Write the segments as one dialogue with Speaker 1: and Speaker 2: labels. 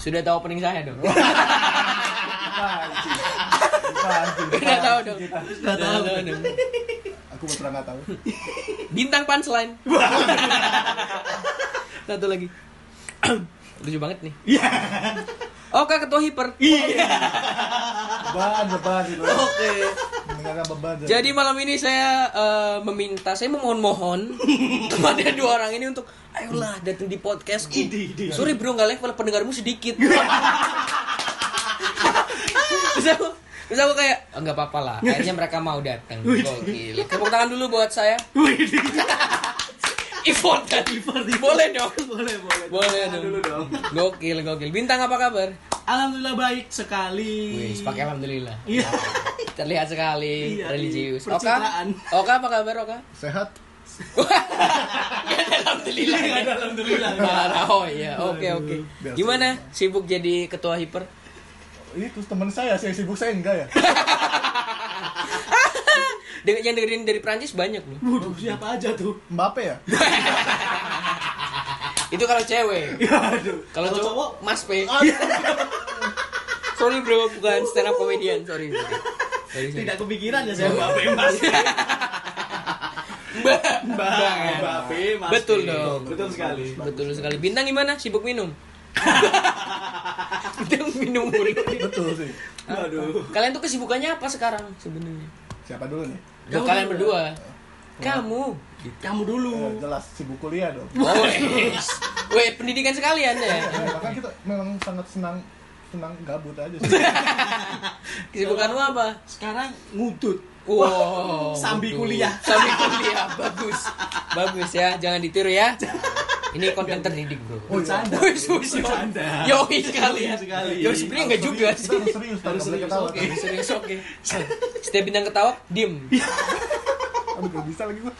Speaker 1: Sudah tahu opening saya dong. Sudah
Speaker 2: Sudah
Speaker 1: tahu dong. Sudah tahu dong.
Speaker 2: Aku beneran nggak tahu.
Speaker 1: Bintang punchline. Satu lagi. Lucu banget nih. Oh, Kak Ketua Hiper.
Speaker 2: Beban, beban itu.
Speaker 1: Oke.
Speaker 2: Mendengarkan beban.
Speaker 1: Jadi malam ini saya eh, meminta, saya memohon-mohon kepada dua orang ini untuk ayolah datang di podcast. Sorry bro, nggak level pendengarmu sedikit. Terus aku, terus aku kayak "Ah, nggak apa-apa lah. Kayaknya mereka mau datang. Gokil. Tepuk tangan dulu buat saya. Effort kan? Boleh dong.
Speaker 3: boleh boleh
Speaker 1: Boleh dong.
Speaker 3: dong
Speaker 1: Gokil, gokil. Bintang apa kabar?
Speaker 3: alhamdulillah baik sekali
Speaker 1: Wih, pakai alhamdulillah.
Speaker 3: iya
Speaker 1: Terlihat sekali
Speaker 3: Iya,
Speaker 1: religius.
Speaker 3: iya.
Speaker 1: Oka,
Speaker 3: Pencitraan.
Speaker 1: Oka apa kabar Oka?
Speaker 2: Sehat.
Speaker 1: Gak ada alhamdulillah.
Speaker 3: Nggak ada, Iya, alhamdulillah
Speaker 1: Parah, oh iya, oke oke.
Speaker 2: Biasa.
Speaker 1: Gimana? Sibuk jadi ketua hiper?
Speaker 2: Ini terus teman saya, saya sibuk saya enggak ya.
Speaker 1: Dengan yang dengerin dari Prancis banyak loh.
Speaker 3: Waduh, siapa aja tuh
Speaker 2: Mbappe ya.
Speaker 1: Itu kalau cewek.
Speaker 3: Aduh.
Speaker 1: Kalau cowok, Mas P. sorry bro, bukan stand up comedian, sorry. sorry. Sorry, sorry.
Speaker 3: tidak kepikiran ya saya Mbak Pe, Mas
Speaker 1: Mbak.
Speaker 3: Mbak Mbak Pe, Mas
Speaker 1: Betul
Speaker 3: Pe.
Speaker 1: dong.
Speaker 3: betul sekali
Speaker 1: Betul sekali. Bintang gimana? Sibuk minum. Bintang minum mulu.
Speaker 2: Betul sih.
Speaker 3: aduh
Speaker 1: Kalian tuh kesibukannya apa sekarang sebenarnya?
Speaker 2: Siapa dulu nih?
Speaker 1: Loh,
Speaker 3: Kamu
Speaker 1: kalian
Speaker 3: dulu.
Speaker 1: berdua. Kamu.
Speaker 3: kamu dulu
Speaker 2: Eh, jelas sibuk kuliah dong.
Speaker 1: Oh, Weh, pendidikan sekalian ya.
Speaker 2: Eh, Maka kita memang sangat senang senang gabut aja sih.
Speaker 1: Kesibukan lu apa?
Speaker 3: sekarang ngutut
Speaker 1: Wow.
Speaker 3: Sambil
Speaker 1: aduh.
Speaker 3: kuliah.
Speaker 1: Sambil kuliah. Bagus. Bagus ya, jangan ditiru ya. Ini konten terdidik, Bro.
Speaker 2: Oh, iya.
Speaker 3: bercanda
Speaker 1: Wih, susu.
Speaker 3: bercanda
Speaker 1: Yoi sekali.
Speaker 3: Serius sekali.
Speaker 1: Yo Ya, sebenarnya enggak juga
Speaker 2: Kita
Speaker 1: sih.
Speaker 2: harus serius,
Speaker 3: Harus
Speaker 2: harus serius.
Speaker 3: serius,
Speaker 2: Ketawa,
Speaker 3: oke.
Speaker 2: okay.
Speaker 1: Serius oke. Setiap bintang ketawa, diem.
Speaker 2: Aduh, gak bisa lagi gua.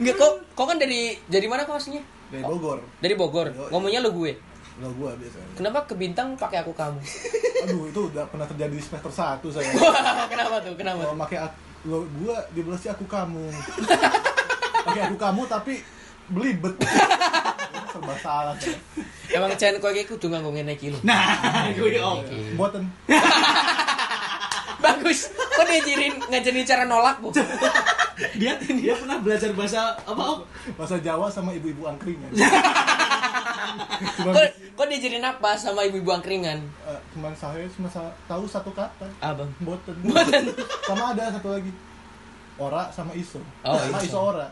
Speaker 1: Enggak kok, kok kan dari dari mana kok aslinya?
Speaker 2: Dari Bogor,
Speaker 1: Dari Bogor.
Speaker 2: Yoi.
Speaker 1: Ngomongnya lo gue.
Speaker 2: lo gua biasanya.
Speaker 1: Kenapa ke bintang pakai aku kamu?
Speaker 2: Aduh, itu udah pernah terjadi di semester 1 saya.
Speaker 1: Wah, kenapa tuh? Kenapa?
Speaker 2: Kalau pakai Oh, ak- lo gua dibelasnya aku kamu. Pakai aku kamu tapi belibet. Serba salah. saya.
Speaker 1: Emang jangan kau kayak kudu nganggo ngene iki lho.
Speaker 3: nah gue om
Speaker 1: Iya.
Speaker 2: Boten.
Speaker 1: Bagus. Kok diajarin ngajarin cara nolak, Bu?
Speaker 3: dia dia pernah belajar bahasa apa om
Speaker 2: Bahasa Jawa sama ibu-ibu angkring ya. Cuman,
Speaker 1: Kok kok diajarin apa sama ibu-ibu angkringan?
Speaker 2: eh, cuman saya cuma sa- tahu satu kata.
Speaker 1: Abang.
Speaker 2: Boten.
Speaker 1: Boten.
Speaker 2: Sama ada satu lagi. Ora sama iso.
Speaker 1: Oh,
Speaker 2: sama
Speaker 1: iso.
Speaker 2: iso ora.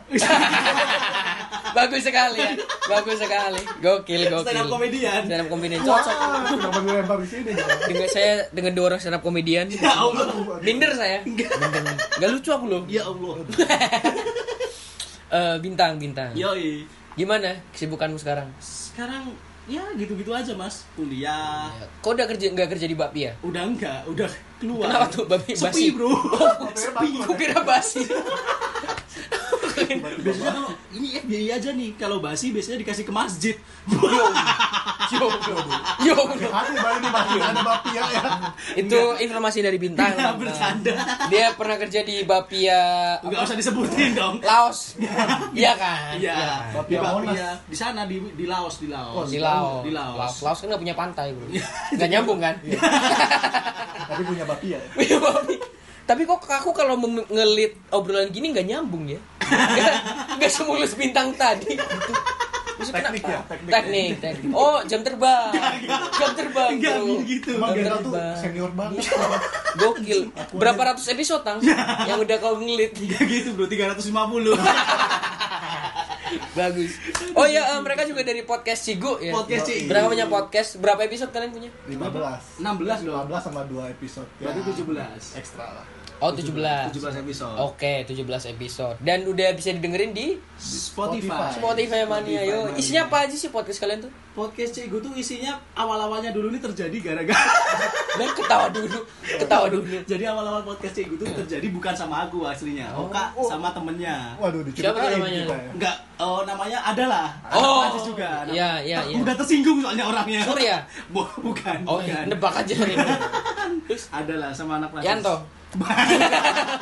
Speaker 1: Bagus sekali ya. Bagus sekali. Gokil, gokil.
Speaker 3: Stand up comedian.
Speaker 1: Stand up comedian
Speaker 2: Wah,
Speaker 1: cocok.
Speaker 2: kenapa gue lempar di sini? Bang?
Speaker 1: Dengan saya dengan dua orang stand up comedian.
Speaker 3: ya allah
Speaker 1: Minder saya. Enggak lucu aku loh.
Speaker 3: ya allah
Speaker 1: Eh, bintang, bintang.
Speaker 3: yoi
Speaker 1: Gimana kesibukanmu sekarang?
Speaker 3: sekarang ya gitu-gitu aja mas kuliah
Speaker 1: Kau udah kerja nggak kerja di Bakpia?
Speaker 3: udah enggak udah keluar
Speaker 1: Kenapa tuh, babi? Basi? Oh,
Speaker 3: sepi bro sepi
Speaker 1: Aku kira basi.
Speaker 3: biasanya kalau ini FBI aja nih kalau basi biasanya dikasih ke masjid
Speaker 1: Yo, yo, yo.
Speaker 2: Ada balik di masjid, ada bapia ya.
Speaker 1: Itu informasi dari bintang.
Speaker 3: Nah, bercanda
Speaker 1: Dia pernah kerja di Bapia
Speaker 3: nggak usah disebutin dong
Speaker 1: Laos. Iya kan?
Speaker 3: Iya,
Speaker 2: Bapak
Speaker 3: di
Speaker 2: Monas.
Speaker 3: Papua, di sana di di Laos, di Laos.
Speaker 1: Oh, Di Laos.
Speaker 3: Di Laos. Iya.
Speaker 1: Laos. Laos kan nggak punya pantai, Bro. Nggak nyambung kan?
Speaker 2: Tapi punya bapia ya.
Speaker 1: Punya babi. Iya, Tapi kok aku kalau mem- ngelit obrolan gini nggak nyambung ya? Nggak- Nggak semulus bintang tadi. Gitu. Maksudnya
Speaker 2: Teknik
Speaker 1: kenapa?
Speaker 2: ya, teknik.
Speaker 1: teknik, teknik. Oh, jam terbang. Jam terbang.
Speaker 3: Enggak
Speaker 1: Bro.
Speaker 3: gitu.
Speaker 2: Emang
Speaker 1: Bener,
Speaker 2: Gendal tuh
Speaker 1: Bang.
Speaker 2: senior banget.
Speaker 1: Gokil. Berapa ratus episode tang yang udah kau ngelit?
Speaker 3: Enggak gitu, Bro. 350.
Speaker 1: Bagus. Oh ya, eh, mereka juga dari podcast Cigo ya.
Speaker 3: Podcast Cigo.
Speaker 1: Berapa punya podcast? Berapa episode kalian punya?
Speaker 2: 15.
Speaker 3: 16 dong.
Speaker 2: 15 sama 2 episode. Ya,
Speaker 3: Berarti 17.
Speaker 2: Ekstra lah.
Speaker 1: Oh, 17.
Speaker 3: 17 episode.
Speaker 1: Oke, 17 episode. Dan udah bisa didengerin di
Speaker 3: Spotify.
Speaker 1: Spotify Mania
Speaker 3: Spotify
Speaker 1: yo.
Speaker 3: Mania.
Speaker 1: Isinya apa aja sih podcast kalian tuh?
Speaker 3: Podcast Cegu tuh isinya awal-awalnya dulu ini terjadi gara-gara
Speaker 1: Dan ketawa dulu, ketawa dulu.
Speaker 3: Jadi awal-awal podcast Cegu tuh terjadi bukan sama aku aslinya. Oka sama temennya.
Speaker 2: Waduh, diceritain
Speaker 1: namanya?
Speaker 2: kita ya.
Speaker 3: Enggak, oh, namanya adalah.
Speaker 1: Oh,
Speaker 3: Anak artis juga. Nama-
Speaker 1: iya, iya, iya.
Speaker 3: Udah tersinggung soalnya orangnya.
Speaker 1: Surya?
Speaker 3: Bu- bukan.
Speaker 1: Oh,
Speaker 3: bukan.
Speaker 1: nebak aja.
Speaker 3: Adalah sama anak artis.
Speaker 1: Yanto.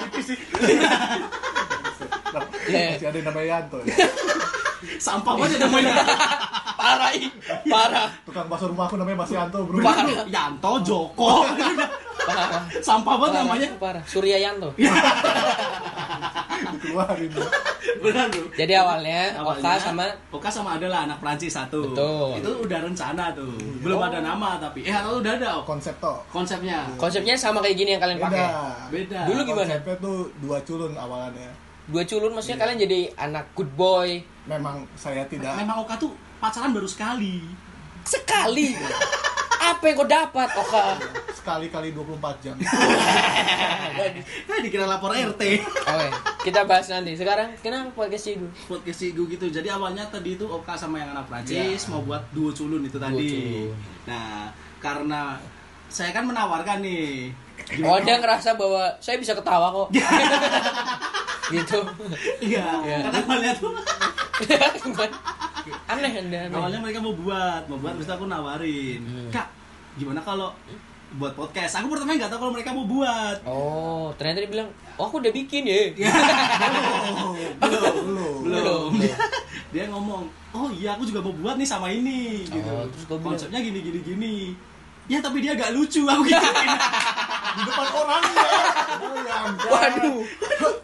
Speaker 2: Tipis sih. Nah,
Speaker 1: Iya.
Speaker 2: Masih ada yang namanya Yanto ya.
Speaker 3: Sampah banget ya ada mainnya.
Speaker 1: Parah, ih. parah.
Speaker 2: Tukang bakso rumahku namanya Mas Yanto, Bro.
Speaker 1: Parah.
Speaker 3: Yanto, Joko.
Speaker 1: Parah.
Speaker 3: Sampah banget
Speaker 1: Parah,
Speaker 3: namanya. Iya.
Speaker 1: Parah. Surya Yanto.
Speaker 2: Dikeluarin. Bro.
Speaker 3: Benar, Bro.
Speaker 1: Jadi awalnya,
Speaker 3: Awalnya,
Speaker 1: Oka sama
Speaker 3: Oka sama adalah anak Prancis satu.
Speaker 1: Betul. Oh.
Speaker 3: Itu udah rencana tuh. Belum ada nama tapi. Eh, atau udah ada Oka?
Speaker 2: Konsep toh.
Speaker 3: konsepnya.
Speaker 1: konsepnya sama kayak gini yang kalian pakai.
Speaker 2: Beda.
Speaker 3: Beda.
Speaker 1: Dulu gimana?
Speaker 2: Konsepnya tuh dua culun awalannya.
Speaker 1: Dua culun maksudnya kalian jadi anak good boy
Speaker 2: Memang saya tidak
Speaker 3: Nah, memang Oka tuh pacaran baru sekali.
Speaker 1: sekali. Apa yang kau dapat, Oka?
Speaker 2: sekali-kali 24 jam.
Speaker 3: Nah, dikira lapor RT.
Speaker 1: Oke, kita bahas nanti. Sekarang kenapa podcast sih dulu?
Speaker 3: podcast Igu gitu. Jadi awalnya tadi itu Oka sama yang anak Prancis mau buat duo culun itu tadi.
Speaker 1: culun.
Speaker 3: Nah, karena saya kan menawarkan nih.
Speaker 1: Oh, dia ngerasa bahwa saya bisa ketawa kok. gitu.
Speaker 3: Iya,
Speaker 1: Iya.
Speaker 3: karena awalnya tuh
Speaker 1: aneh anda. aneh.
Speaker 3: awalnya mereka mau buat, mau buat terus aku nawarin. Kak, gimana kalau buat podcast? Aku pertama nggak tahu kalau mereka mau buat.
Speaker 1: Oh, ternyata dia bilang, oh aku udah bikin ya.
Speaker 2: Oh, belum, belum.
Speaker 3: belum dia ngomong oh iya aku juga mau buat nih sama ini gitu
Speaker 1: Oh, terus gua bilang-
Speaker 3: konsepnya gini gini gini ya tapi dia gak lucu aku gitu
Speaker 2: Di depan orang ya. Oh, ya ampun.
Speaker 1: Waduh,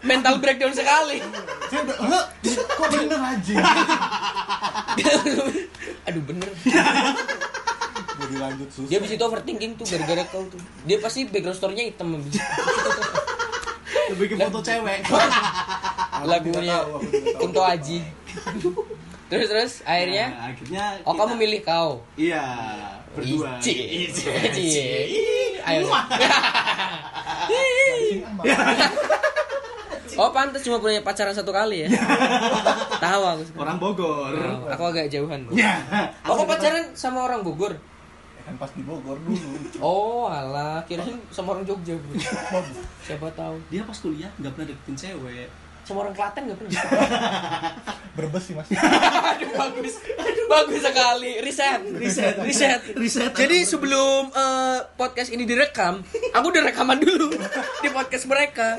Speaker 1: mental breakdown sekali.
Speaker 2: Saya udah, "Hah? kok bener aja?
Speaker 1: Aduh bener.
Speaker 2: Mau dilanjut susah.
Speaker 1: Dia abis itu overthinking tuh gara-gara kau tuh. Dia pasti background story-nya hitam. abis itu.
Speaker 3: lebih ke foto cewek
Speaker 2: Aku
Speaker 1: Lagunya
Speaker 2: tidak tahu, aku tidak tahu.
Speaker 1: Kunto Aji. Terus terus akhirnya
Speaker 3: Nah, akhirnya
Speaker 1: oh
Speaker 3: kita-
Speaker 1: kamu milih kau.
Speaker 3: iya berdua
Speaker 1: Ici.
Speaker 3: Ici.
Speaker 1: Ici. Ayo.
Speaker 3: Muah.
Speaker 2: Sing aman.
Speaker 1: Oh pantas cuma punya pacaran satu kali ya. Tahu aku. sekarang.
Speaker 3: orang Bogor
Speaker 1: Aku agak jauhan.
Speaker 3: ya
Speaker 1: Oh kau pacaran sama orang Bogor?
Speaker 2: Ya kan pas di Bogor dulu.
Speaker 1: Oh alah, kirain sama orang Jogja. Bu. Siapa tahu.
Speaker 3: dia pas kuliah nggak pernah deketin cewek
Speaker 1: Sama orang Klaten nggak pernah.
Speaker 2: Berbes sih Mas.
Speaker 1: Aduh bagus. Aduh bagus sekali. Riset.
Speaker 3: riset
Speaker 1: Riset.
Speaker 3: riset
Speaker 1: Jadi sebelum eh, podcast ini direkam, aku udah rekaman dulu di podcast mereka.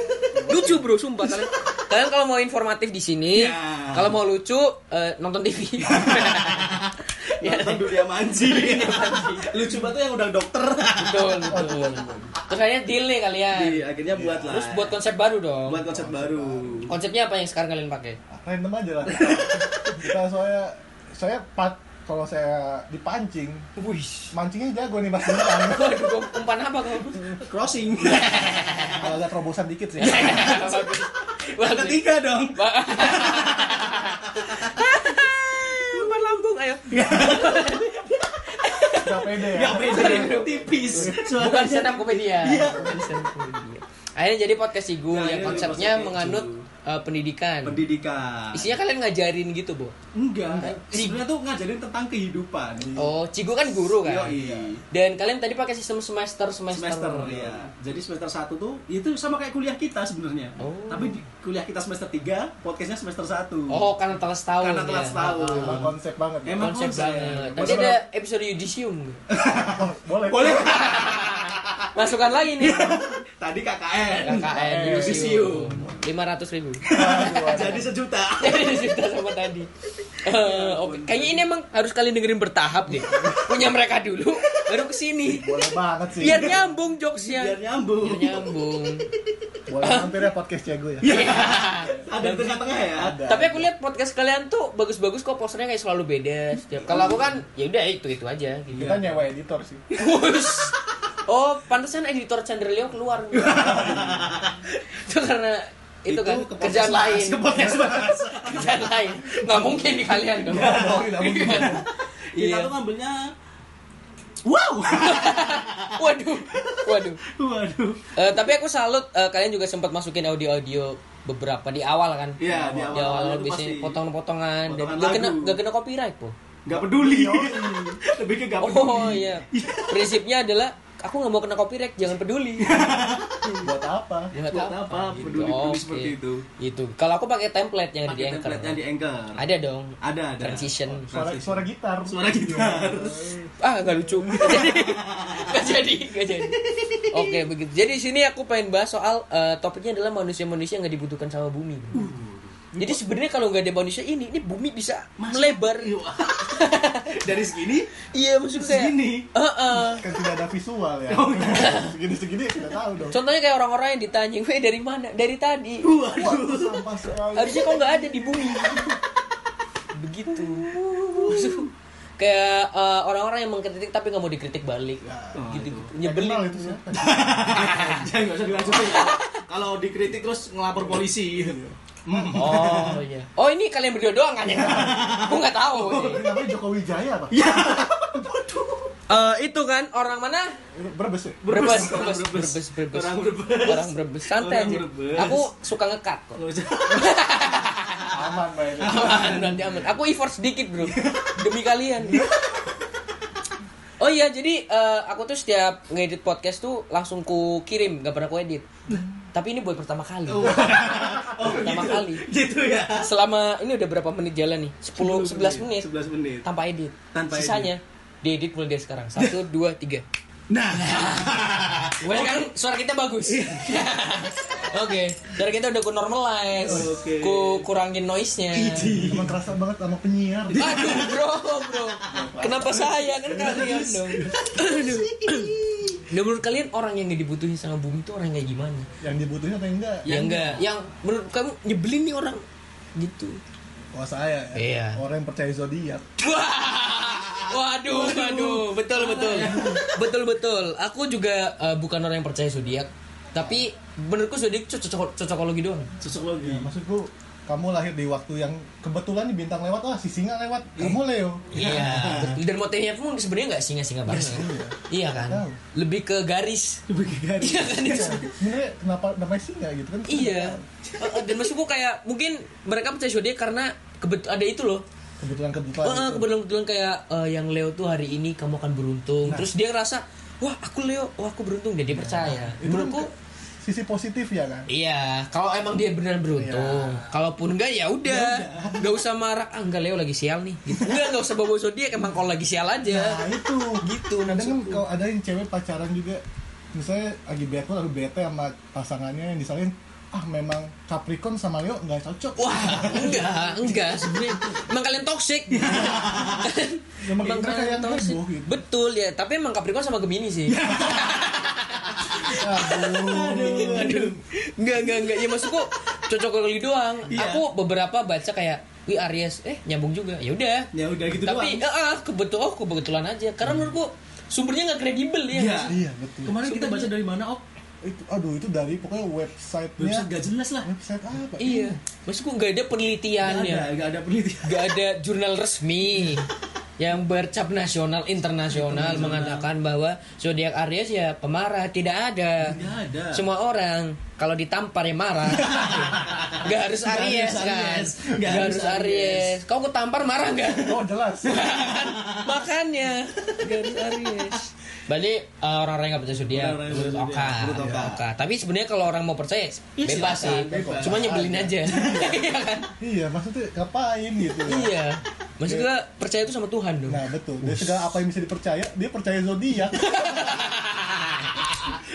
Speaker 1: Lucu bro, sumpah kalian. Kalian kalau mau informatif di sini,
Speaker 3: Ya.
Speaker 1: kalau mau lucu eh, nonton Ya, TV. Iya.
Speaker 3: nonton dunia manji lucu banget tuh yang udah dokter
Speaker 1: betul, betul. Terus akhirnya deal nih kalian.
Speaker 3: Iya, akhirnya buat lah
Speaker 1: Terus buat konsep Oh, baru dong.
Speaker 3: buat konsep baru
Speaker 1: Konsepnya apa yang sekarang kalian pakai?
Speaker 2: Ah, Random aja lah. Kita soalnya saya pat kalau saya dipancing,
Speaker 1: Wih.
Speaker 2: mancingnya jago nih Mas Bintang.
Speaker 1: Waduh, gua umpan apa kau?
Speaker 3: crossing
Speaker 1: Iya,
Speaker 2: Kalau agak terobosan dikit sih.
Speaker 1: Bagus.
Speaker 3: yang
Speaker 1: Bagus.
Speaker 3: ketiga dong
Speaker 1: Ba- Ah, Umpan lambung, ayo.
Speaker 3: Iya.
Speaker 2: Gak pede ya.
Speaker 3: Gak beda tipis
Speaker 1: bukan
Speaker 3: Suaranya
Speaker 1: stand up komedia. Bukan stand up komedia. Akhirnya jadi podcast Igu
Speaker 3: Iya. Nah,
Speaker 1: yang
Speaker 3: ini
Speaker 1: konsepnya
Speaker 3: podcast Igu.
Speaker 1: menganut eh, pendidikan.
Speaker 3: pendidikan Iya.
Speaker 1: Isinya kalian ngajarin gitu, Bu.
Speaker 3: enggak sebenarnya tuh ngajarin tentang kehidupan
Speaker 1: Oh, Cigu kan guru kan.
Speaker 3: Yoi.
Speaker 1: Dan kalian tadi pakai sistem semester semester.
Speaker 3: iya.
Speaker 1: iya.
Speaker 3: semester ya jadi semester 1 tuh itu sama kayak kuliah kita sebenarnya
Speaker 1: Oh.
Speaker 3: tapi di kuliah kita semester 3 podcastnya semester 1
Speaker 1: Oh, karena telah setahun. ya.
Speaker 3: Karena telah setahun.
Speaker 2: Emang konsep banget. ya.
Speaker 1: Ah,
Speaker 3: Emang
Speaker 1: Konsep
Speaker 3: konsep.
Speaker 1: banget. Nanti ada episode yudisium.
Speaker 2: Oh, boleh.
Speaker 3: boleh kan?
Speaker 1: Masukkan lagi nih.
Speaker 3: tadi KKN
Speaker 1: KKN
Speaker 2: Eh,
Speaker 1: yudisium. Lima ratus ribu.
Speaker 2: Aduh, aduh.
Speaker 3: jadi sejuta
Speaker 1: Jadi cerita sama tadi. Eh, Oke, kayaknya ini emang harus kalian dengerin bertahap deh. Punya mereka dulu, baru kesini.
Speaker 2: Boleh banget sih.
Speaker 3: Iya,
Speaker 1: Biar nyambung jokesnya.
Speaker 3: biar nyambung
Speaker 1: Biar nyambung.
Speaker 2: Boleh mampir ya podcast jago
Speaker 3: Iya.
Speaker 2: ya.
Speaker 3: ada di tengah-tengah ya
Speaker 2: Ada.
Speaker 1: Tapi aku lihat podcast kalian tuh bagus-bagus kok posternya kayak selalu beda. Setiap kalau aku kan ya udah itu itu aja gitu.
Speaker 2: Kita nyewa editor sih.
Speaker 1: Wush. Oh, pantesan editor Chanderleo keluar. itu karena itu, kan
Speaker 3: ke podcast
Speaker 1: kerjaan
Speaker 3: mas,
Speaker 1: lain.
Speaker 3: ke podcast mas.
Speaker 1: kerjaan lain. Nggak mungkin di kalian dong.
Speaker 2: Nggak mungkin.
Speaker 3: kita
Speaker 1: Iya.
Speaker 3: tuh ngambilnya wow
Speaker 1: Waduh. Waduh.
Speaker 3: waduh
Speaker 1: Eh, tapi aku salut eh, kalian juga sempat masukin audio-audio beberapa di awal kan.
Speaker 3: Iya, di
Speaker 1: Di awal
Speaker 3: awal-awal itu
Speaker 1: biasanya
Speaker 3: pasti.
Speaker 1: potong-potongan dan
Speaker 3: Potongan
Speaker 1: gak kena
Speaker 3: lagu.
Speaker 1: gak kena copyright, Po.
Speaker 3: Gak peduli. Lebih ke gak peduli.
Speaker 1: iya. Oh iya. Prinsipnya adalah aku nggak mau kena copyright, jangan peduli. Ah,
Speaker 2: buat apa
Speaker 1: Buat
Speaker 3: Buat apa? Peduli-peduli seperti itu.
Speaker 1: Itu. gitu. Kalau aku pakai template yang di
Speaker 3: Pakai
Speaker 1: Anchor. kan?
Speaker 3: template yang di anchor.
Speaker 1: Ada dong.
Speaker 3: Ada, ada.
Speaker 1: Transition.
Speaker 2: suara suara gitar
Speaker 3: Iya.
Speaker 2: Iya.
Speaker 3: Suara gitar.
Speaker 1: Ah, nggak lucu. Nggak jadi. Nggak jadi, nggak jadi. Oke, begitu. Jadi di sini aku pengen bahas soal eh, topiknya adalah manusia-manusia yang nggak dibutuhkan sama bumi.
Speaker 2: Hmm.
Speaker 1: Jadi sebenarnya kalau nggak ada manusia ini, ini bumi bisa
Speaker 3: Mas-
Speaker 1: melebar.
Speaker 3: Iya. Dari segini
Speaker 1: Iya, maksud saya.
Speaker 3: Segini?
Speaker 1: Heeh.
Speaker 2: kan tidak ada visual ya
Speaker 3: Oh, iya.
Speaker 2: segini segini tidak tahu dong
Speaker 1: Contohnya kayak orang-orang yang ditanya, "Weh, dari mana?" Dari tadi. Oh,
Speaker 2: Waduh, sampah sekali
Speaker 1: Harusnya kok nggak ada di bumi. Begitu. Maksud- kayak eh, orang-orang yang mengkritik tapi nggak mau dikritik balik.
Speaker 2: Ya.
Speaker 1: gitu.
Speaker 3: itu.
Speaker 2: Kenal
Speaker 1: Nyebelin.
Speaker 2: itu siapa?
Speaker 3: Oh, iya. jangan nggak usah dilanjutin. Kalau dikritik terus ngelapor polisi. gitu.
Speaker 1: Iya.
Speaker 3: Mm.
Speaker 1: Oh iya. Oh ini kalian berdua doang kan ya? Aku nggak tahu.
Speaker 2: Ini namanya Jokowi Jaya apa?
Speaker 1: Iya.
Speaker 3: Ya.
Speaker 1: Eh, itu kan orang mana?
Speaker 2: Berbes ya?
Speaker 1: Brebes,
Speaker 3: Brebes,
Speaker 1: Brebes,
Speaker 3: Brebes.
Speaker 1: Brebes, Brebes.
Speaker 3: Orang Brebes.
Speaker 1: Orang Brebes. Santai
Speaker 3: Orang
Speaker 1: aja.
Speaker 3: Brebes.
Speaker 1: Aku suka ngekat kok.
Speaker 3: Nggak usah.
Speaker 2: Aman mainnya.
Speaker 1: Aman, nanti aman. Aku effort sedikit, Bro. Demi kalian. Oh iya, jadi eh, aku tuh setiap ngedit podcast tuh langsung ku kirim, gak pernah ku edit. Tapi ini buat pertama kali.
Speaker 3: Oh,
Speaker 1: Pertama
Speaker 3: gitu.
Speaker 1: kali.
Speaker 3: Gitu ya.
Speaker 1: Selama ini udah berapa menit jalan nih? 10 11 menit.
Speaker 3: 11 menit.
Speaker 1: tanpa edit.
Speaker 3: Tanpa
Speaker 1: Sisanya diedit mulai dari sekarang. Satu, dua, tiga.
Speaker 3: Nah,
Speaker 1: Well, kan suara kita bagus. Oke, suara kita udah ku normalize,
Speaker 3: Oke.
Speaker 1: ku kurangin noise-nya.
Speaker 3: gitu.
Speaker 2: Emang kerasa banget sama penyiar.
Speaker 1: Aduh, bro, bro. Kenapa saya kan kalian dong? Aduh. Nah, menurut kalian orang yang nggak dibutuhin sama bumi itu orang kayak gimana?
Speaker 2: Yang dibutuhin apa yang enggak?
Speaker 1: Ya enggak. Yang menurut kamu nyebelin nih orang gitu.
Speaker 2: Oh saya ya.
Speaker 1: Iya.
Speaker 2: Orang yang percaya zodiak.
Speaker 1: Wah, Waduh, waduh, betul betul, betul betul. Aku juga eh, bukan orang yang percaya zodiak, tapi menurutku zodiak cocok cocokologi doang.
Speaker 3: cocok lagi.
Speaker 2: Ya,
Speaker 1: Iya,
Speaker 2: maksudku kamu lahir di waktu yang kebetulan nih bintang lewat ah si singa lewat kamu Leo
Speaker 1: Iya. betul. Dan motifnya pun sebenarnya nggak singa-singa banget. Iya kan?
Speaker 2: Tahu.
Speaker 1: Lebih ke garis. Iya kan itu. semua.
Speaker 2: sebenarnya kenapa namanya singa gitu kan
Speaker 1: Iya. Eh, eh, Dan maksudku kayak mungkin mereka percaya zodiak karena kebet ada itu loh.
Speaker 2: kebetulan gitu. kebetulan
Speaker 1: Eh, eh, kebetulan-kebetulan kayak eh, yang Leo tuh hari ini kamu akan beruntung. Terus dia ngerasa, "Wah, aku Leo, wah aku beruntung." Dan dia percaya. Menurutku
Speaker 2: sisi positif ya kan
Speaker 1: Iya, kalau emang dia benar beruntung. Kalaupun enggak ya udah, enggak usah marah. Ah, enggak Leo lagi sial nih. Gitu. Enggak, enggak usah bawa zodiak emang kalau lagi sial
Speaker 2: nah
Speaker 1: aja.
Speaker 2: itu
Speaker 1: Gitu,
Speaker 2: kadang kan
Speaker 1: maksudku.
Speaker 2: kalau ada yang cewek pacaran juga misalnya lagi bete lalu bete sama pasangannya yang disalahin ah memang Capricorn sama Leo nggak cocok
Speaker 1: Wah, enggak, enggak sebenarnya. Emang kalian toksik.
Speaker 3: Iya,
Speaker 2: Emang
Speaker 1: Emang
Speaker 2: Ya, mereka
Speaker 1: kalian
Speaker 2: yang
Speaker 1: toksik.
Speaker 2: heboh gitu.
Speaker 1: Betul ya, tapi emang Capricorn sama Gemini sih.
Speaker 3: Iya,
Speaker 2: Ya, aduh
Speaker 1: Aduh. Enggak, enggak, enggak. Ya maksudku cocok kali doang.
Speaker 3: Iya.
Speaker 1: Aku beberapa baca kayak Wi Aries, eh nyambung juga. Ya udah.
Speaker 3: Ya udah gitu
Speaker 1: Tapi
Speaker 3: doang. Hmm.
Speaker 1: eh, ah, kebetulan oh, kebetulan aja. Karena menurutku sumbernya nggak kredibel ya.
Speaker 3: Iya.
Speaker 2: iya betul
Speaker 3: Kemarin kita baca dari mana, Ok?
Speaker 2: itu aduh itu dari pokoknya websitenya
Speaker 3: Website gak jelas lah. Kan ya?
Speaker 2: website apa
Speaker 1: Iya. Maksudku nggak ada
Speaker 3: Gak
Speaker 1: penelitiannya.
Speaker 3: ada, gak ada penelitian.
Speaker 1: Nggak ada jurnal resmi yang bercap nasional internasional mengatakan bahwa zodiak Aries ya pemarah tidak ada.
Speaker 3: Gak ada.
Speaker 1: Semua orang kalau ditampar ya marah. Gak harus
Speaker 3: Nggak
Speaker 1: Aries
Speaker 3: harus
Speaker 1: kan.
Speaker 3: Aries.
Speaker 1: Gak
Speaker 3: Nggak
Speaker 1: harus
Speaker 3: harus
Speaker 1: Aries. Kau ketampar marah nggak?
Speaker 2: oh jelas
Speaker 1: Makannya garis Aries. Berarti uh, orang-orang yang gak percaya zodiak
Speaker 3: Orang-orang yang
Speaker 1: menurut
Speaker 3: percaya
Speaker 1: Oka,
Speaker 3: zodiak, ya. menurut Oka.
Speaker 1: Oka. Tapi sebenarnya kalau orang mau percaya bebas sih.
Speaker 3: silakan, bebas.
Speaker 1: Cuma nyebelin aja. Iya kan?
Speaker 2: iya maksudnya ngapain gitu ya
Speaker 1: Iya. Maksudnya percaya itu sama Tuhan dong.
Speaker 2: Nah betul, dari segala apa yang bisa dipercaya, dia percaya zodiak.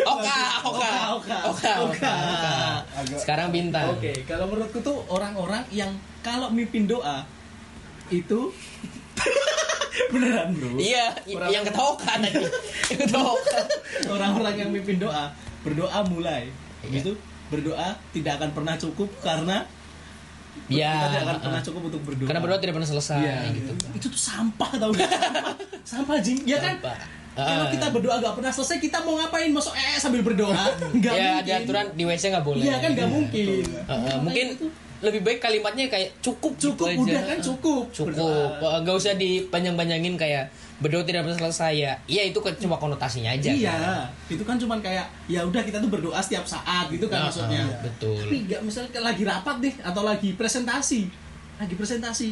Speaker 1: Oka, Oka,
Speaker 3: Oka,
Speaker 1: Oka, Oka.
Speaker 3: Oka.
Speaker 2: Agak-
Speaker 1: Sekarang bintang.
Speaker 3: Oke, kalau menurutku tuh orang-orang yang kalau mimpin doa itu beneran bro.
Speaker 1: Iya, i-
Speaker 3: Orang-
Speaker 1: yang ketawa Oka tadi. Yang ketawa Oka.
Speaker 3: Orang-orang yang mimpin doa berdoa mulai, habis itu berdoa tidak akan pernah cukup karena
Speaker 1: Iya.
Speaker 3: kita tidak akan
Speaker 1: heeh.
Speaker 3: pernah cukup untuk berdoa.
Speaker 1: Karena berdoa tidak pernah selesai
Speaker 3: Iya,
Speaker 1: gitu.
Speaker 3: Itu tuh sampah tau gak? Sampah, sampah jing. Ya kan?
Speaker 1: Sampah.
Speaker 3: Kalau
Speaker 1: Ah.
Speaker 3: kita berdoa gak pernah selesai, kita mau ngapain? Masuk eh sambil berdoa? Gak
Speaker 1: Ya,
Speaker 3: mungkin.
Speaker 1: ada aturan di WC nggak boleh.
Speaker 3: Iya kan gak mungkin.
Speaker 1: Uh, uh, mungkin
Speaker 3: Makanya itu
Speaker 1: lebih baik kalimatnya kayak cukup
Speaker 3: cukup
Speaker 1: gitu aja.
Speaker 3: udah kan cukup.
Speaker 1: cukup
Speaker 3: Berdoa.
Speaker 1: Uh, nggak usah dipanjang-panjangin kayak berdoa tidak pernah selesai ya iya itu kan cuma konotasinya aja
Speaker 3: Iya,
Speaker 1: kan?
Speaker 3: itu kan cuman kayak ya udah kita tuh berdoa setiap saat
Speaker 1: Ah,
Speaker 3: gitu kan maksudnya.
Speaker 1: ah, betul
Speaker 3: Tapi nggak misalnya lagi rapat deh atau lagi presentasi, lagi presentasi.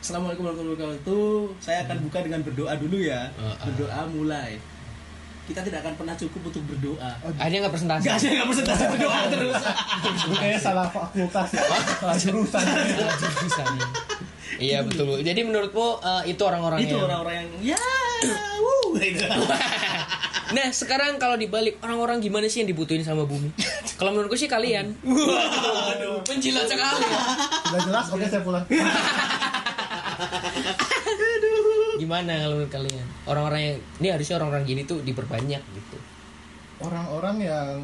Speaker 3: Assalamualaikum warahmatullahi wabarakatuh. Saya akan buka dengan berdoa dulu ya.
Speaker 1: Ah, ah.
Speaker 3: Berdoa mulai. kita tidak akan pernah cukup untuk berdoa.
Speaker 1: Akhirnya nggak presentasi.
Speaker 3: Gak sih nggak presentasi berdoa terus.
Speaker 2: Gue kayaknya salah fakultas ya. Salah jurusan.
Speaker 1: Jurusannya. Iya betul. Jadi menurutmu eh, itu orang-orang
Speaker 3: Itu
Speaker 1: yang-
Speaker 3: orang-orang yang ya, wuh, gitu.
Speaker 1: Nah sekarang kalau dibalik orang-orang gimana sih yang dibutuhin sama bumi? kalau menurutku sih kalian.
Speaker 3: Waduh,
Speaker 1: Penjilat sekali.
Speaker 2: Udah jelas, oke saya pulang.
Speaker 1: Gimana kalau menurut kalian? Orang-orang yang ini harusnya orang-orang gini tuh diperbanyak gitu.
Speaker 2: Orang-orang yang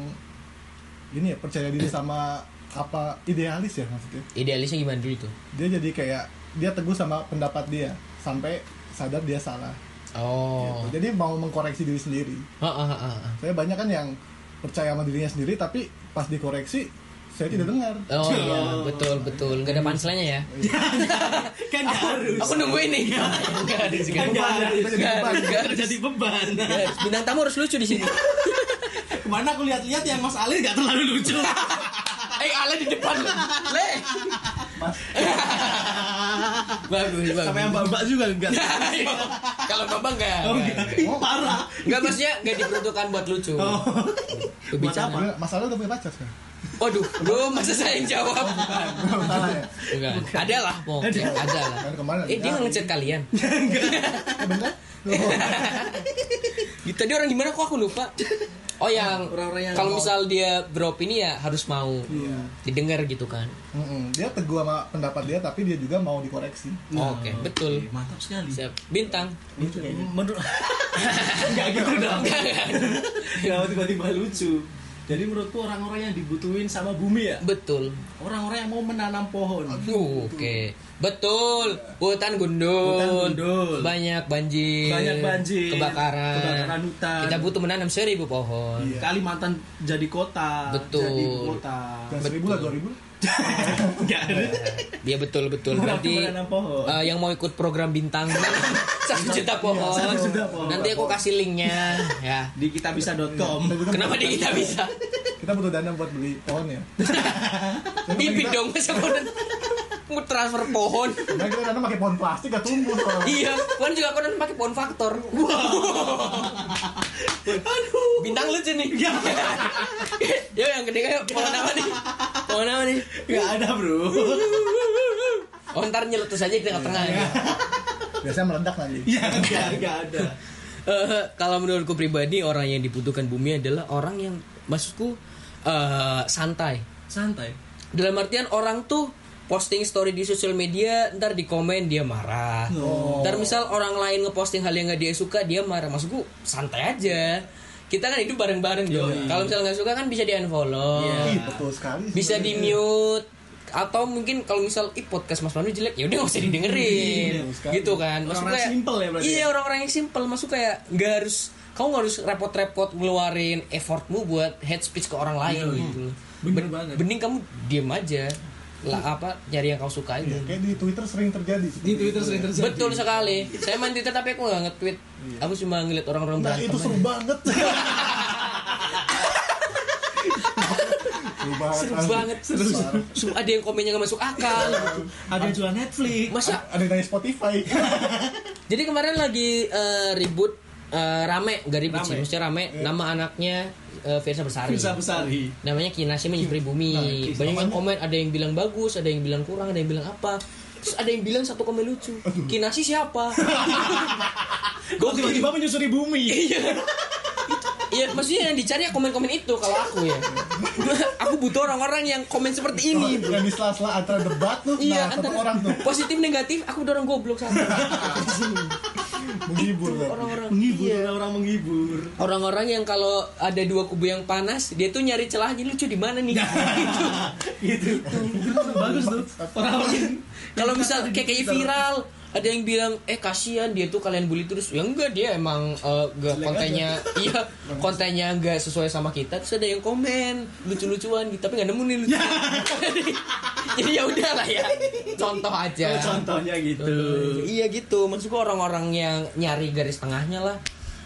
Speaker 2: ini ya percaya diri sama apa idealis ya maksudnya.
Speaker 1: Idealisnya gimana dulu tuh?
Speaker 2: Dia jadi kayak dia teguh sama pendapat dia sampai sadar dia salah.
Speaker 1: Oh.
Speaker 2: Gitu. Jadi mau mengkoreksi diri sendiri.
Speaker 1: Ah, ah, ah, ah.
Speaker 2: Saya banyak kan yang percaya sama dirinya sendiri tapi pas dikoreksi saya tidak dengar.
Speaker 1: Oh iya, betul betul. Gak ada panselnya ya.
Speaker 3: kan nggak harus.
Speaker 1: Aku nungguin nih. Gak ada juga.
Speaker 3: Kan nggak
Speaker 2: Beban,
Speaker 3: harus.
Speaker 2: kita jadi
Speaker 1: Gak
Speaker 2: beban.
Speaker 1: harus, gak harus.
Speaker 3: Jadi beban.
Speaker 1: Gak harus. Bintang tamu harus lucu di sini.
Speaker 3: Kemana aku lihat-lihat yang Mas Ali nggak terlalu lucu.
Speaker 1: Eh, Ale di depan. Le.
Speaker 2: Mas,
Speaker 1: Bagus,
Speaker 3: Sama
Speaker 1: bagus.
Speaker 3: yang mbak-mbak juga enggak.
Speaker 1: Nah. Kalau Bambang enggak.
Speaker 3: Oh, enggak. Ih, Parah.
Speaker 1: Enggak maksudnya enggak diperuntukkan buat lucu.
Speaker 3: Oh. Buat
Speaker 1: Berbicara.
Speaker 3: apa?
Speaker 2: Dia- Mas Aldo udah punya pacar sekarang?
Speaker 1: Waduh, lu masa saya yang jawab?
Speaker 2: Belum salah ya?
Speaker 1: Enggak. Ada lah, pokoknya ada lah.
Speaker 2: Kan kemarin
Speaker 1: Eh, dia ngechat kalian.
Speaker 2: Eh, bener? Loh.
Speaker 1: Gitu, tadi orang gimana kok aku lupa? Oh yang,
Speaker 3: Orang-orang yang
Speaker 1: kalau
Speaker 3: mau-
Speaker 1: misal dia drop ini ya harus mau
Speaker 3: Iya.
Speaker 1: didengar gitu kan?
Speaker 2: Mm-mm. Dia teguh sama pendapat dia tapi dia juga mau dikoreksi.
Speaker 1: Oke, betul.
Speaker 3: Oke, Mantap sekali.
Speaker 1: Siap. Bintang.
Speaker 3: Menurut nggak gitu dong. Gak tiba-tiba lucu. Jadi menurutku orang-orang yang dibutuhin sama bumi ya,
Speaker 1: Betul.
Speaker 3: orang-orang yang mau menanam pohon.
Speaker 1: Aduh, Oke. Betul. Hutan gundul.
Speaker 3: Hutan gundul.
Speaker 1: Banyak banjir.
Speaker 3: Banyak banjir.
Speaker 1: Kebakaran.
Speaker 3: Kebakaran hutan.
Speaker 1: Kita butuh menanam seribu pohon.
Speaker 2: Iya.
Speaker 3: Kalimantan jadi kota,
Speaker 1: Betul.
Speaker 3: jadi kota.
Speaker 2: Dan seribu lah, dua ribu lah.
Speaker 3: Enggak.
Speaker 1: Iya betul betul.
Speaker 3: Bukan
Speaker 1: Berarti
Speaker 3: menanam pohon. Iya,
Speaker 1: eh, yang mau ikut program bintang satu juta pohon.
Speaker 3: satu juta pohon.
Speaker 1: Nanti aku kasih linknya ya.
Speaker 3: Di kitabisa.com.
Speaker 2: Kita butuh-
Speaker 1: Kenapa di kita bisa?
Speaker 2: Kita butuh dana buat beli pohon ya.
Speaker 1: Pipit dong masa pohon. Mau transfer pohon.
Speaker 2: Karena kita dana pakai pohon plastik gak tumbuh soalnya.
Speaker 1: iya, kan juga aku nanti pakai pohon faktor.
Speaker 3: Aduh.
Speaker 1: Bintang lucu nih. Yo yang gede kayak pohon apa nih? Pohon apa nih?
Speaker 3: Enggak ada, Bro.
Speaker 1: Oh ntar nyeletus aja di tengah-tengah ya.
Speaker 2: Biasanya meledak lagi.
Speaker 1: Iya.
Speaker 3: Ya, enggak, enggak ada.
Speaker 1: Eh, kalau menurutku pribadi orang yang dibutuhkan bumi adalah orang yang maksudku eh, santai.
Speaker 3: Santai.
Speaker 1: Dalam artian orang tuh posting story di sosial media, ntar di komen dia marah.
Speaker 3: Oh.
Speaker 1: Ntar misal orang lain ngeposting hal yang nggak dia suka, dia marah. Maksudku santai aja. Kita kan hidup bareng-bareng dong.
Speaker 3: Iya.
Speaker 1: Kalau misal nggak suka kan bisa di unfollow.
Speaker 2: Ih, betul sekali. sih.
Speaker 1: bisa di mute atau mungkin kalau misal Ih, podcast Mas Pandu jelek ya udah nggak usah didengerin gitu kan Maksud
Speaker 3: Iya, Orang-orang
Speaker 1: kayak-
Speaker 3: simple ya berarti
Speaker 1: iya
Speaker 3: ya?
Speaker 1: orang-orang yang simple masuk kayak nggak harus kamu nggak harus repot-repot ngeluarin effortmu buat head speech ke orang lain
Speaker 3: Iya,
Speaker 1: gitu
Speaker 3: Bener banget.
Speaker 1: mending kamu diem aja lah apa nyari yang kau suka aja
Speaker 2: Ya, kayak di Twitter sering terjadi.
Speaker 3: Di Twitter sering terjadi.
Speaker 1: betul sekali saya main Twitter tapi aku nggak nge-tweet aku cuma ngeliat orang-orang
Speaker 2: Nah,
Speaker 1: berantem
Speaker 2: itu seru
Speaker 1: aja.
Speaker 2: banget. seru banget.
Speaker 1: seru
Speaker 2: asli.
Speaker 1: banget seru,
Speaker 2: Parah.
Speaker 1: Seru. ada yang komennya nggak masuk akal gitu.
Speaker 3: Ada yang jual Netflix.
Speaker 1: masa
Speaker 2: Ada yang dari Spotify.
Speaker 1: Iya. Jadi kemarin lagi eh, ribut eh, rame, nggak ribut sih,
Speaker 3: Rame.
Speaker 1: maksudnya rame. Nama anaknya eh, Firsa Besari.
Speaker 3: Bisa besari.
Speaker 1: Namanya Kinasi Menyusuri Bumi.
Speaker 2: Kis-
Speaker 1: Banyak yang
Speaker 2: namanya-
Speaker 1: komen, ada yang bilang bagus, ada yang bilang kurang, ada yang bilang apa. Terus ada yang bilang satu komen lucu. Kinasi siapa?
Speaker 3: Gue tiba-tiba menyusuri bumi.
Speaker 1: Iya, maksudnya yang dicari ya komen-komen itu kalau aku ya. aku butuh orang-orang yang komen seperti
Speaker 2: Oh,
Speaker 1: ini.
Speaker 2: yang di sela-sela antara debat tuh,
Speaker 1: Iya,
Speaker 2: nah, satu
Speaker 1: antara-
Speaker 2: orang tuh
Speaker 1: Positif negatif, aku dorong goblok sama
Speaker 2: menghibur. tuh.
Speaker 1: orang-orang. Iya.
Speaker 3: Menghibur, orang-orang menghibur.
Speaker 1: orang-orang yang kalau ada dua kubu yang panas dia tuh nyari celahnya lucu di mana nih
Speaker 2: Nah.
Speaker 1: gitu
Speaker 3: gitu bagus tuh orang-orang
Speaker 1: kalau misal kayak kayak viral ada yang bilang eh kasihan dia tuh kalian bully terus ya enggak dia emang eh, enggak kontennya iya kontennya enggak sesuai sama kita terus ada yang komen lucu-lucuan gitu tapi nggak nemu nih lucu jadi ya udahlah ya contoh aja
Speaker 3: Oh, contohnya gitu
Speaker 1: iya gitu maksudku orang-orang yang nyari garis tengahnya lah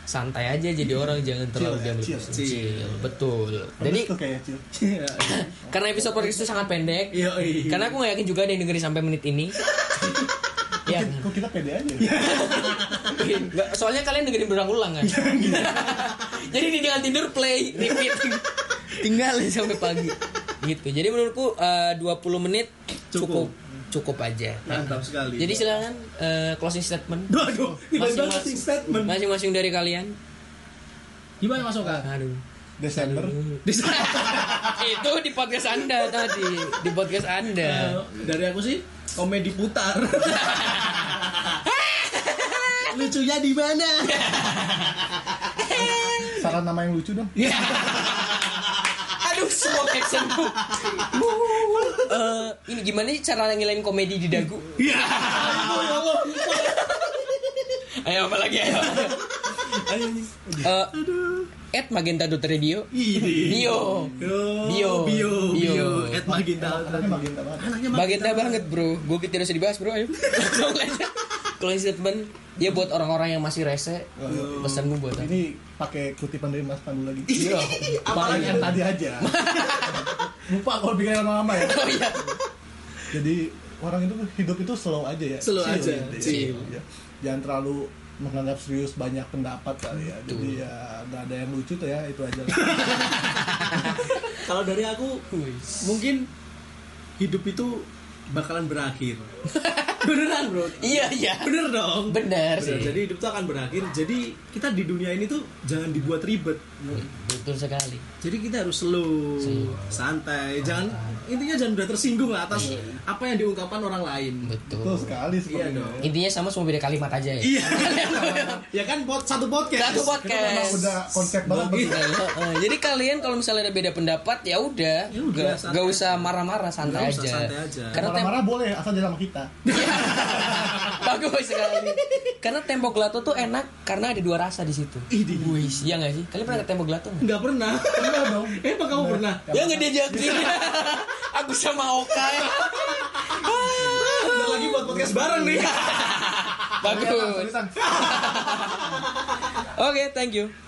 Speaker 1: santai aja jadi orang jangan terlalu
Speaker 2: Chill,
Speaker 1: diambil
Speaker 2: chill,
Speaker 1: pusing. betul
Speaker 2: Bagus
Speaker 1: jadi
Speaker 2: tuh kayaknya, Cil.
Speaker 1: karena episode podcast itu sangat pendek
Speaker 3: iya iya.
Speaker 1: karena aku gak yakin juga ada yang dengerin sampai menit ini ya
Speaker 2: Kok
Speaker 1: Iya.
Speaker 2: kita pede aja?
Speaker 1: nggak, soalnya kalian dengerin berulang-ulang kan Jadi ditinggal tidur play repeat. Tinggal ya sampai pagi. Gitu. Jadi menurutku eh, 20 menit cukup
Speaker 3: Cukup.
Speaker 1: cukup aja.
Speaker 3: Mantap sekali.
Speaker 1: Jadi silakan eh, closing statement
Speaker 3: Waduh, tiba-tiba
Speaker 1: Masing-masing.
Speaker 3: closing statement.
Speaker 1: masing-masing dari kalian.
Speaker 3: Gimana Mas Oka?
Speaker 1: Aduh.
Speaker 2: Desember
Speaker 1: Iya. itu di podcast Anda tadi, di podcast Anda.
Speaker 3: Dari aku sih komedi putar. Lucunya di mana?
Speaker 2: saran nama yang lucu dong
Speaker 1: Aduh, semua caption tuh. Eh, ini gimana sih cara ngilain komedi di dagu?
Speaker 3: Iya.
Speaker 1: Ayo apa lagi ayo. Eh, at Magenta Dot Radio.
Speaker 3: Ini.
Speaker 1: Bio. Bio.
Speaker 3: Bio. Bio.
Speaker 1: Bio.
Speaker 3: Bio. Ed Magenta.
Speaker 2: anaknya magenta banget
Speaker 3: Anaknya
Speaker 1: Magenta banget bro, gue tidak usah dibahas bro, ayo Langsung aja. Closing statement Ya buat orang-orang yang masih rese Pesanmu buat apa?
Speaker 2: ini pakai kutipan dari Mas Pandu lagi
Speaker 3: Iya.
Speaker 2: Apalagi yang tadi aja lupa kalau bikin lama-lama ya
Speaker 1: Oh iya
Speaker 2: jadi orang itu hidup itu slow aja ya
Speaker 3: Slow aja,
Speaker 2: gitu ya.
Speaker 3: chill.
Speaker 2: Ya. jangan terlalu menganggap serius banyak pendapat kali ya jadi ya nggak ada yang lucu tuh ya itu aja lah.
Speaker 3: Kalau dari aku mungkin hidup itu bakalan berakhir. Beneran, Bro.
Speaker 1: Iya iya
Speaker 3: Bener dong.
Speaker 1: Bener
Speaker 3: Bener,
Speaker 1: sih
Speaker 3: Jadi hidup tuh akan berakhir. Jadi kita di dunia ini tuh jangan dibuat ribet.
Speaker 1: Betul sekali
Speaker 3: Jadi kita harus slow, santai. Jangan intinya jangan mudah tersinggung lah atas
Speaker 1: Iya.
Speaker 3: apa yang diungkapkan orang lain.
Speaker 2: betul
Speaker 1: Betul
Speaker 2: sekali sepertinya
Speaker 3: dong.
Speaker 2: ya.
Speaker 1: Intinya sama semua beda kalimat aja ya
Speaker 3: Iya. ya kan pot satu podcast.
Speaker 1: Satu
Speaker 2: itu memang
Speaker 1: podcast
Speaker 2: udah konsep banget
Speaker 3: Bagus.
Speaker 2: betul.
Speaker 1: Iya, iya. Jadi kalian kalau misalnya ada beda pendapat ya udah,
Speaker 3: Ya udah,
Speaker 1: gak,
Speaker 3: santai.
Speaker 1: gak usah marah-marah santai,
Speaker 3: Nggak usah,
Speaker 1: aja.
Speaker 3: santai aja.
Speaker 1: Karena tem-
Speaker 2: marah-marah boleh asal jangan sama kita
Speaker 1: bagus sekali. Karena tempo gelato tuh enak karena ada dua rasa di situ.
Speaker 3: Ih,
Speaker 1: Wih, iya gak sih? Kalian pernah ke tempo gelato nggak?
Speaker 3: Enggak pernah.
Speaker 2: Iya dong
Speaker 3: Emang kamu pernah?
Speaker 1: Ya nggak diajakin. Aku sama Oka. ya.
Speaker 3: Ada lagi buat podcast bareng
Speaker 1: Iya.
Speaker 3: nih.
Speaker 2: Iya,
Speaker 1: Bagus.
Speaker 2: Tulisan.
Speaker 1: Oke, thank you.